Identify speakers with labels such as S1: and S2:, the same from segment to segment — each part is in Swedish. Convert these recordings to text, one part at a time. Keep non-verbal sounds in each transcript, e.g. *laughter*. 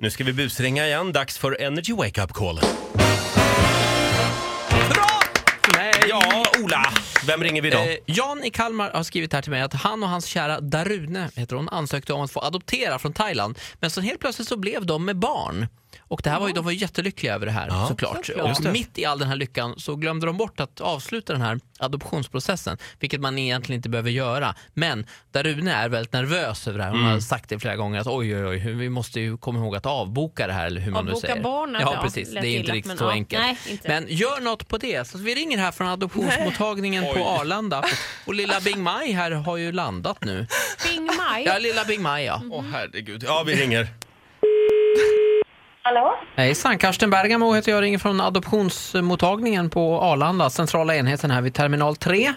S1: Nu ska vi busringa igen. Dags för Energy Wake Up Call. Bra!
S2: Nej.
S1: Ja, Ola. Vem ringer vi idag?
S2: Eh, Jan i Kalmar har skrivit här till mig att han och hans kära Darune, heter hon, ansökte om att få adoptera från Thailand. Men så helt plötsligt så blev de med barn. Och det här var ju, de var ju jättelyckliga över det här såklart.
S3: såklart. Just
S2: Och mitt i all den här lyckan så glömde de bort att avsluta den här adoptionsprocessen. Vilket man egentligen inte behöver göra. Men Darune är väldigt nervös över det här. Hon har sagt det flera gånger att oj oj oj, hur- vi måste ju komma ihåg att avboka det här eller hur man nu
S3: Avboka
S2: säger.
S3: barnet,
S2: ja,
S3: ja.
S2: precis. Det
S3: Lät
S2: är inte
S3: illa,
S2: riktigt
S3: men
S2: så
S3: ja.
S2: enkelt.
S3: Nej, inte.
S2: Men Gör något på det. Så vi ringer här från adoptionsmottagningen på Arlanda. Och lilla Bing Maj här har ju landat nu.
S3: Bing Maj.
S2: Ja, lilla Bing Maj ja.
S1: Åh herregud. Ja, vi ringer.
S4: Hallå?
S2: Hejsan, Karsten Bergamo heter jag ringer från adoptionsmottagningen på Arlanda, centrala enheten här vid terminal 3.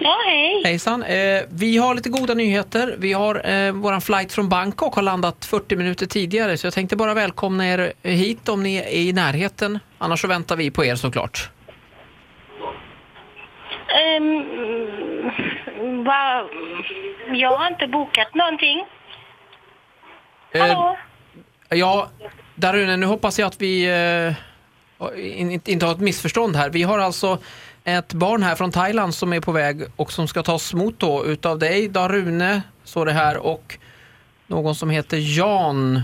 S4: Ja, hej.
S2: Hejsan, eh, vi har lite goda nyheter. Vi har eh, våran flight från Bangkok har landat 40 minuter tidigare så jag tänkte bara välkomna er hit om ni är i närheten. Annars så väntar vi på er såklart.
S4: Ehm, mm, va, jag har inte bokat någonting.
S2: Ehm.
S4: Hallå?
S2: Eh, Ja, Darune, nu hoppas jag att vi eh, in, in- inte har ett missförstånd här. Vi har alltså ett barn här från Thailand som är på väg och som ska tas emot då utav dig, Darune, står det här, och någon som heter Jan.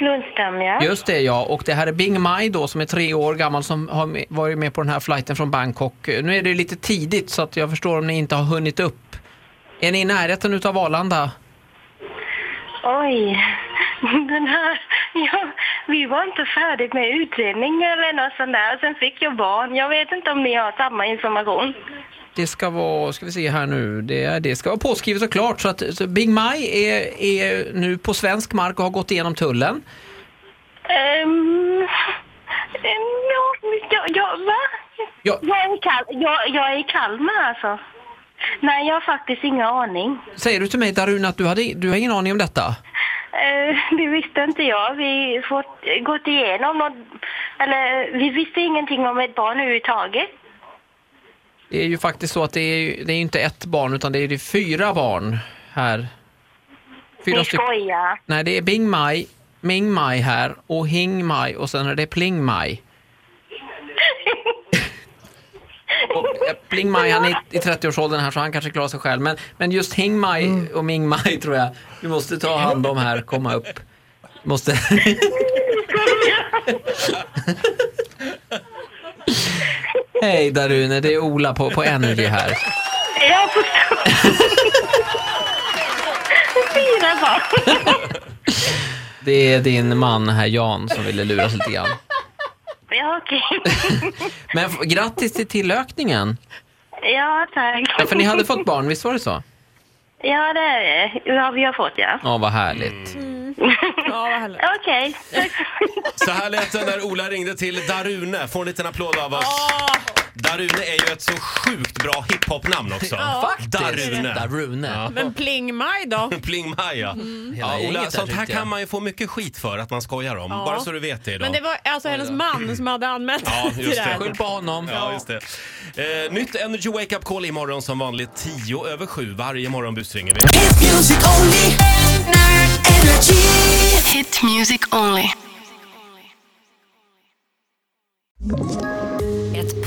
S4: Lundstam, ja.
S2: Just det, ja. Och det här är Bing Mai då som är tre år gammal som har me- varit med på den här flighten från Bangkok. Nu är det lite tidigt så att jag förstår om ni inte har hunnit upp. Är ni i närheten utav Arlanda?
S4: Oj. *laughs* Den här, ja, vi var inte färdiga med utredning eller något sånt där. Sen fick jag barn. Jag vet inte om ni har samma information.
S2: Det ska vara, ska vi se här nu, det, är- det ska vara påskrivet och klart. Så att så Big Mai är, är nu på svensk mark och har gått igenom tullen.
S4: Ehm, ehm, ja, ja, ja, va?
S2: Ja.
S4: Jag, är i Kal- jag, jag är i Kalmar alltså. Nej, jag har faktiskt ingen aning.
S2: Säger du till mig Daruna att du, hade, du har ingen aning om detta?
S4: Eh, Det visste inte jag. Vi fått gått igenom något, eller vi visste ingenting om ett barn överhuvudtaget.
S2: Det är ju faktiskt så att det är, ju- det är ju inte ett barn utan det är ju fyra barn här.
S4: Ni
S2: styck-
S4: skojar.
S2: Nej, det är Bing Mai, Ming Mai här och Hing Mai och sen är det Pling Mai. Och, eh, Pling Mai han är i 30-årsåldern här så han kanske klarar sig själv. Men, men just Hing Mai och Ming Mai tror jag vi måste ta hand om här, komma upp. Måste... Hej Darune, det är Ola på, på Energy här.
S4: Jag förstår. Fyra barn.
S2: Det är din man här Jan som ville luras lite grann.
S4: Ja, okej.
S2: Men f- grattis till tillökningen!
S4: Ja, tack.
S2: Ja, för ni hade fått barn, visst var det så?
S4: Ja, det är det. Ja, vi har fått, ja.
S2: Ja, vad härligt.
S1: Mm.
S3: Ja, vad härligt.
S4: Okej. Tack
S1: Så här lät det när Ola ringde till Darune. Får en liten applåd av oss. Darune är ju ett så sjukt bra hiphop-namn också.
S2: Faktiskt.
S1: Darune.
S2: Darune.
S1: Ja.
S3: Men Pling Maj då?
S1: Pling Maja.
S2: Mm. Hela
S1: Ja,
S2: gänget
S1: Ola,
S2: där,
S1: sånt här
S2: tyckte jag.
S1: kan man ju få mycket skit för att man skojar om.
S3: Ja.
S1: Bara så du vet det idag.
S3: Men det var alltså hennes man som hade anmält
S1: Ja,
S3: till
S1: just
S3: det här.
S1: det.
S2: Skyll på honom.
S1: Ja, just det. Eh, nytt Energy Wake Up Call imorgon som vanligt 10 över 7. Varje morgon busringer vi.
S5: Hit music only. Energy.
S6: Hit music only.
S7: Ett